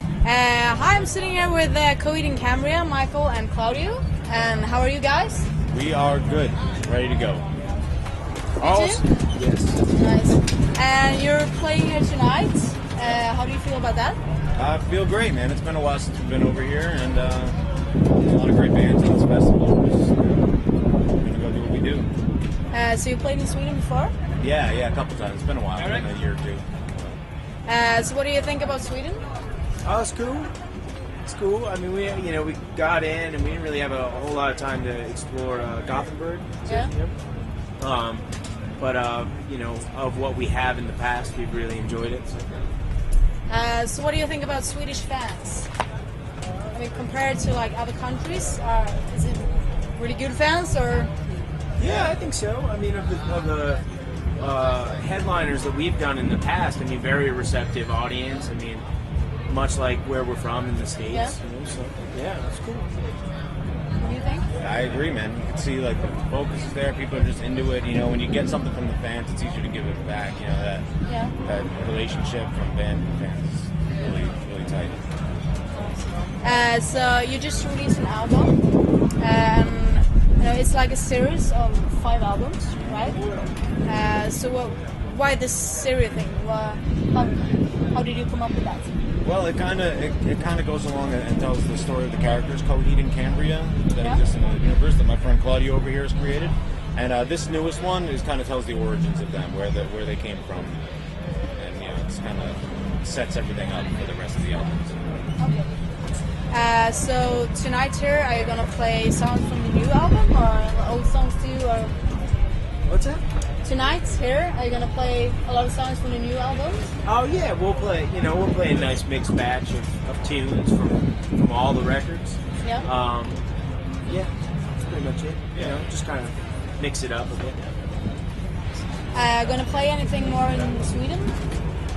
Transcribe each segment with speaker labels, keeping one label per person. Speaker 1: Uh, I'm sitting here with uh, Coed and Cambria, Michael and Claudio. And how are you guys?
Speaker 2: We are good. Ready to go.
Speaker 1: too?
Speaker 2: Yes.
Speaker 1: Nice. And you're playing here tonight. Uh, how do you feel about that?
Speaker 2: I feel great, man. It's been a while since we've been over here, and uh, a lot of great bands at this festival. Just, uh, gonna go do what we do.
Speaker 1: Uh, so you played in Sweden before.
Speaker 2: Yeah, yeah, a couple times. It's been a while, been a year or two.
Speaker 1: Uh, so what do you think about Sweden?
Speaker 3: Oh, it's cool. It's cool. I mean, we you know we got in and we didn't really have a whole lot of time to explore uh, Gothenburg. Is it?
Speaker 1: Yeah.
Speaker 3: Yep. Um, but uh, you know, of what we have in the past, we've really enjoyed it.
Speaker 1: Uh, so what do you think about Swedish fans? I mean, compared to like other countries, uh, is it really good fans or?
Speaker 3: Yeah, I think so. I mean, of the, of the uh, headliners that we've done in the past, I mean, very receptive audience. I mean, much like where we're from in the states.
Speaker 1: Yeah.
Speaker 3: You know, so, yeah, it's cool.
Speaker 1: What do you think?
Speaker 2: I agree, man. You can see like the focus is there. People are just into it. You know, when you get something from the fans, it's easier to give it back. You know that
Speaker 1: Yeah.
Speaker 2: that relationship from band to fans is really really tight.
Speaker 1: Uh, so you just released an album, and you know, it's like a series of five albums, right? Uh, so what, why this series thing? Wha- how, how did you come up with that?
Speaker 2: Well, it kind of it, it kind of goes along and tells the story of the characters Coheed and Cambria that
Speaker 1: Yeah.
Speaker 2: exist in the universe that my friend Claudio over here has created, and uh, this newest one is kind of tells the origins of them, where the where they came from, and you know, it's kind of sets everything up for the rest of the albums.
Speaker 1: Okay. Uh, so tonight here, are you gonna play songs from the new album or old songs too? Or
Speaker 3: What's that?
Speaker 1: tonight here, are you gonna play a lot of songs from the new album?
Speaker 3: Oh yeah, we'll play. You know, we'll play a nice mixed batch of, of tunes from from all the records.
Speaker 1: Yeah.
Speaker 2: Uh.
Speaker 3: Um, yeah, that's pretty much it. You know, just kind of mix it up a bit.
Speaker 1: Uh, gonna play anything more in Sweden,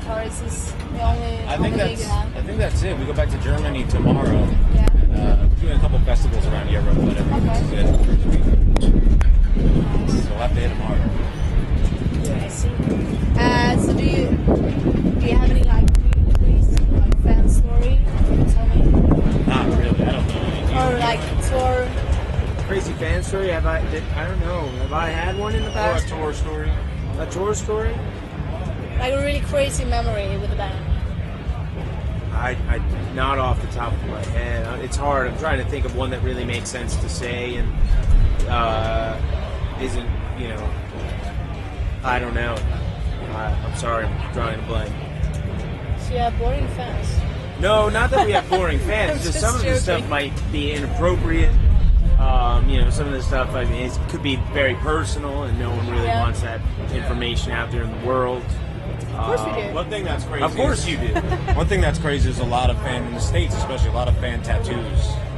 Speaker 1: or is this the only
Speaker 2: I
Speaker 1: only
Speaker 2: think
Speaker 1: gig you
Speaker 2: that's
Speaker 1: have?
Speaker 2: I think that's it. We go back to Germany tomorrow.
Speaker 1: Yeah.
Speaker 2: And, uh, doing a couple festivals around Europe, but
Speaker 1: Okay.
Speaker 2: everything's it. So we'll have to hit them harder.
Speaker 1: I see. Uh, so do you do you have any like recent, like fan story to tell me,
Speaker 2: Not really. I don't know. any.
Speaker 1: or like tour?
Speaker 3: Crazy fan story? Have I? Did, I don't know. Have I had one in the
Speaker 2: Or a
Speaker 3: past?
Speaker 2: tour story.
Speaker 3: A tour story?
Speaker 1: Like a really crazy memory with the band.
Speaker 3: I, I not off the top of my head. Uh, It's hard. I'm trying to think of one that really makes sense to say and uh, isn't. You know, I don't know. I, I'm sorry. I'm drawing a blank.
Speaker 1: So you have boring fans.
Speaker 3: No, not that we have boring
Speaker 1: I'm
Speaker 3: fans. just,
Speaker 1: just
Speaker 3: some of the
Speaker 1: joking.
Speaker 3: stuff might be inappropriate. Um, you know, some of the stuff. I mean, it could be very personal, and no one really
Speaker 1: Yeah.
Speaker 3: wants that information out there in the world.
Speaker 1: Of course
Speaker 3: Uh,
Speaker 1: we do.
Speaker 2: One thing that's crazy.
Speaker 3: Of course
Speaker 2: is-
Speaker 3: you do.
Speaker 2: One thing that's crazy is a lot of fan in the states, especially a lot of fan tattoos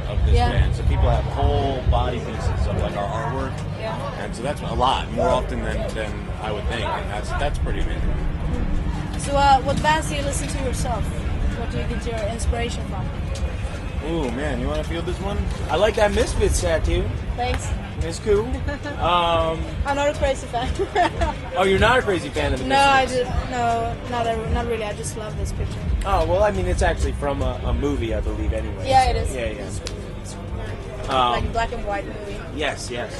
Speaker 2: of this
Speaker 1: Yeah.
Speaker 2: band. So people have whole body pieces of like our artwork,
Speaker 1: Yeah.
Speaker 2: and so that's a lot more often than, than I would think, and that's that's pretty amazing.
Speaker 1: So uh, what bands do you listen to yourself? What do you get your inspiration from?
Speaker 2: Ooh man, you want to feel this one?
Speaker 3: I like that Misfits tattoo.
Speaker 1: Thanks.
Speaker 3: It's cool. Um,
Speaker 1: I'm not a crazy fan.
Speaker 3: oh, you're not a crazy fan of the
Speaker 1: no, I
Speaker 3: Misfits.
Speaker 1: just no, not a, not really. I just love this picture.
Speaker 3: Oh well, I mean, it's actually from a, a movie, I believe. Anyway.
Speaker 1: Yeah,
Speaker 3: so-
Speaker 1: it is.
Speaker 3: Yeah, yeah.
Speaker 1: It's- it's
Speaker 3: Um,
Speaker 1: like black and white movie.
Speaker 3: Yes, yes.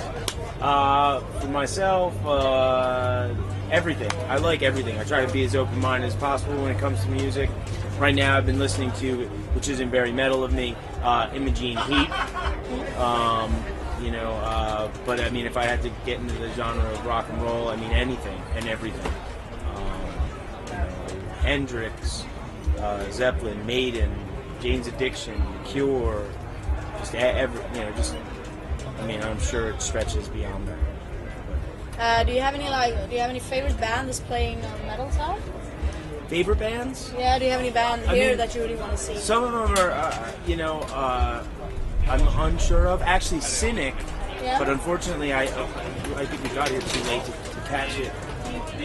Speaker 3: Uh, for myself, uh, everything. I like everything. I try to be as open minded as possible when it comes to music. Right now, I've been listening to, which isn't very metal of me, uh, Imogene Heat. Um, you know, uh, but I mean, if I had to get into the genre of rock and roll, I mean, anything and everything. Um, you know, Hendrix, uh, Zeppelin, Maiden, Jane's Addiction, Cure, just e- every, you know, just I mean, I'm sure it stretches beyond that.
Speaker 1: Uh, do you have any like? Do you have any favorite band that's playing on metal side?
Speaker 3: Favorite bands?
Speaker 1: Yeah. Do you have any band
Speaker 3: I
Speaker 1: here
Speaker 3: mean-
Speaker 1: that you really want to see?
Speaker 3: Some of them are, uh, you know, uh, I'm unsure of. Actually, Cynic,
Speaker 1: Yeah.
Speaker 3: but unfortunately, I uh, I think we got here too late to, to catch it.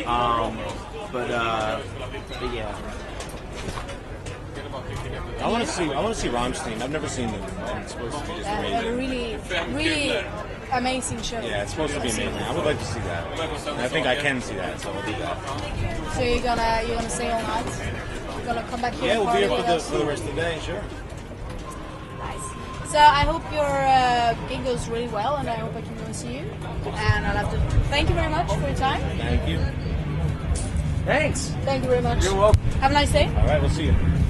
Speaker 3: Um, but, uh, but yeah,
Speaker 2: I want to see. I want to see Rammstein. I've never seen them. and It's supposed to be just
Speaker 1: Uh, a
Speaker 2: amazing.
Speaker 1: really, really amazing show.
Speaker 2: Yeah, it's supposed to be amazing. I would like to see that. And I think I can see that, so I'll do that.
Speaker 1: So you're gonna you're gonna stay all night. You're gonna come back here.
Speaker 2: Yeah,
Speaker 1: and
Speaker 2: we'll be here
Speaker 1: party with
Speaker 2: for the,
Speaker 1: us?
Speaker 2: for the rest of the day, sure.
Speaker 1: Nice. So I hope your uh, gig goes really well, and I hope I can go and see you. And I'll have to thank you very much for your time.
Speaker 2: Thank you.
Speaker 3: Thanks.
Speaker 1: Thank you very much.
Speaker 3: You're welcome.
Speaker 1: Have a nice day.
Speaker 2: All right, we'll see you.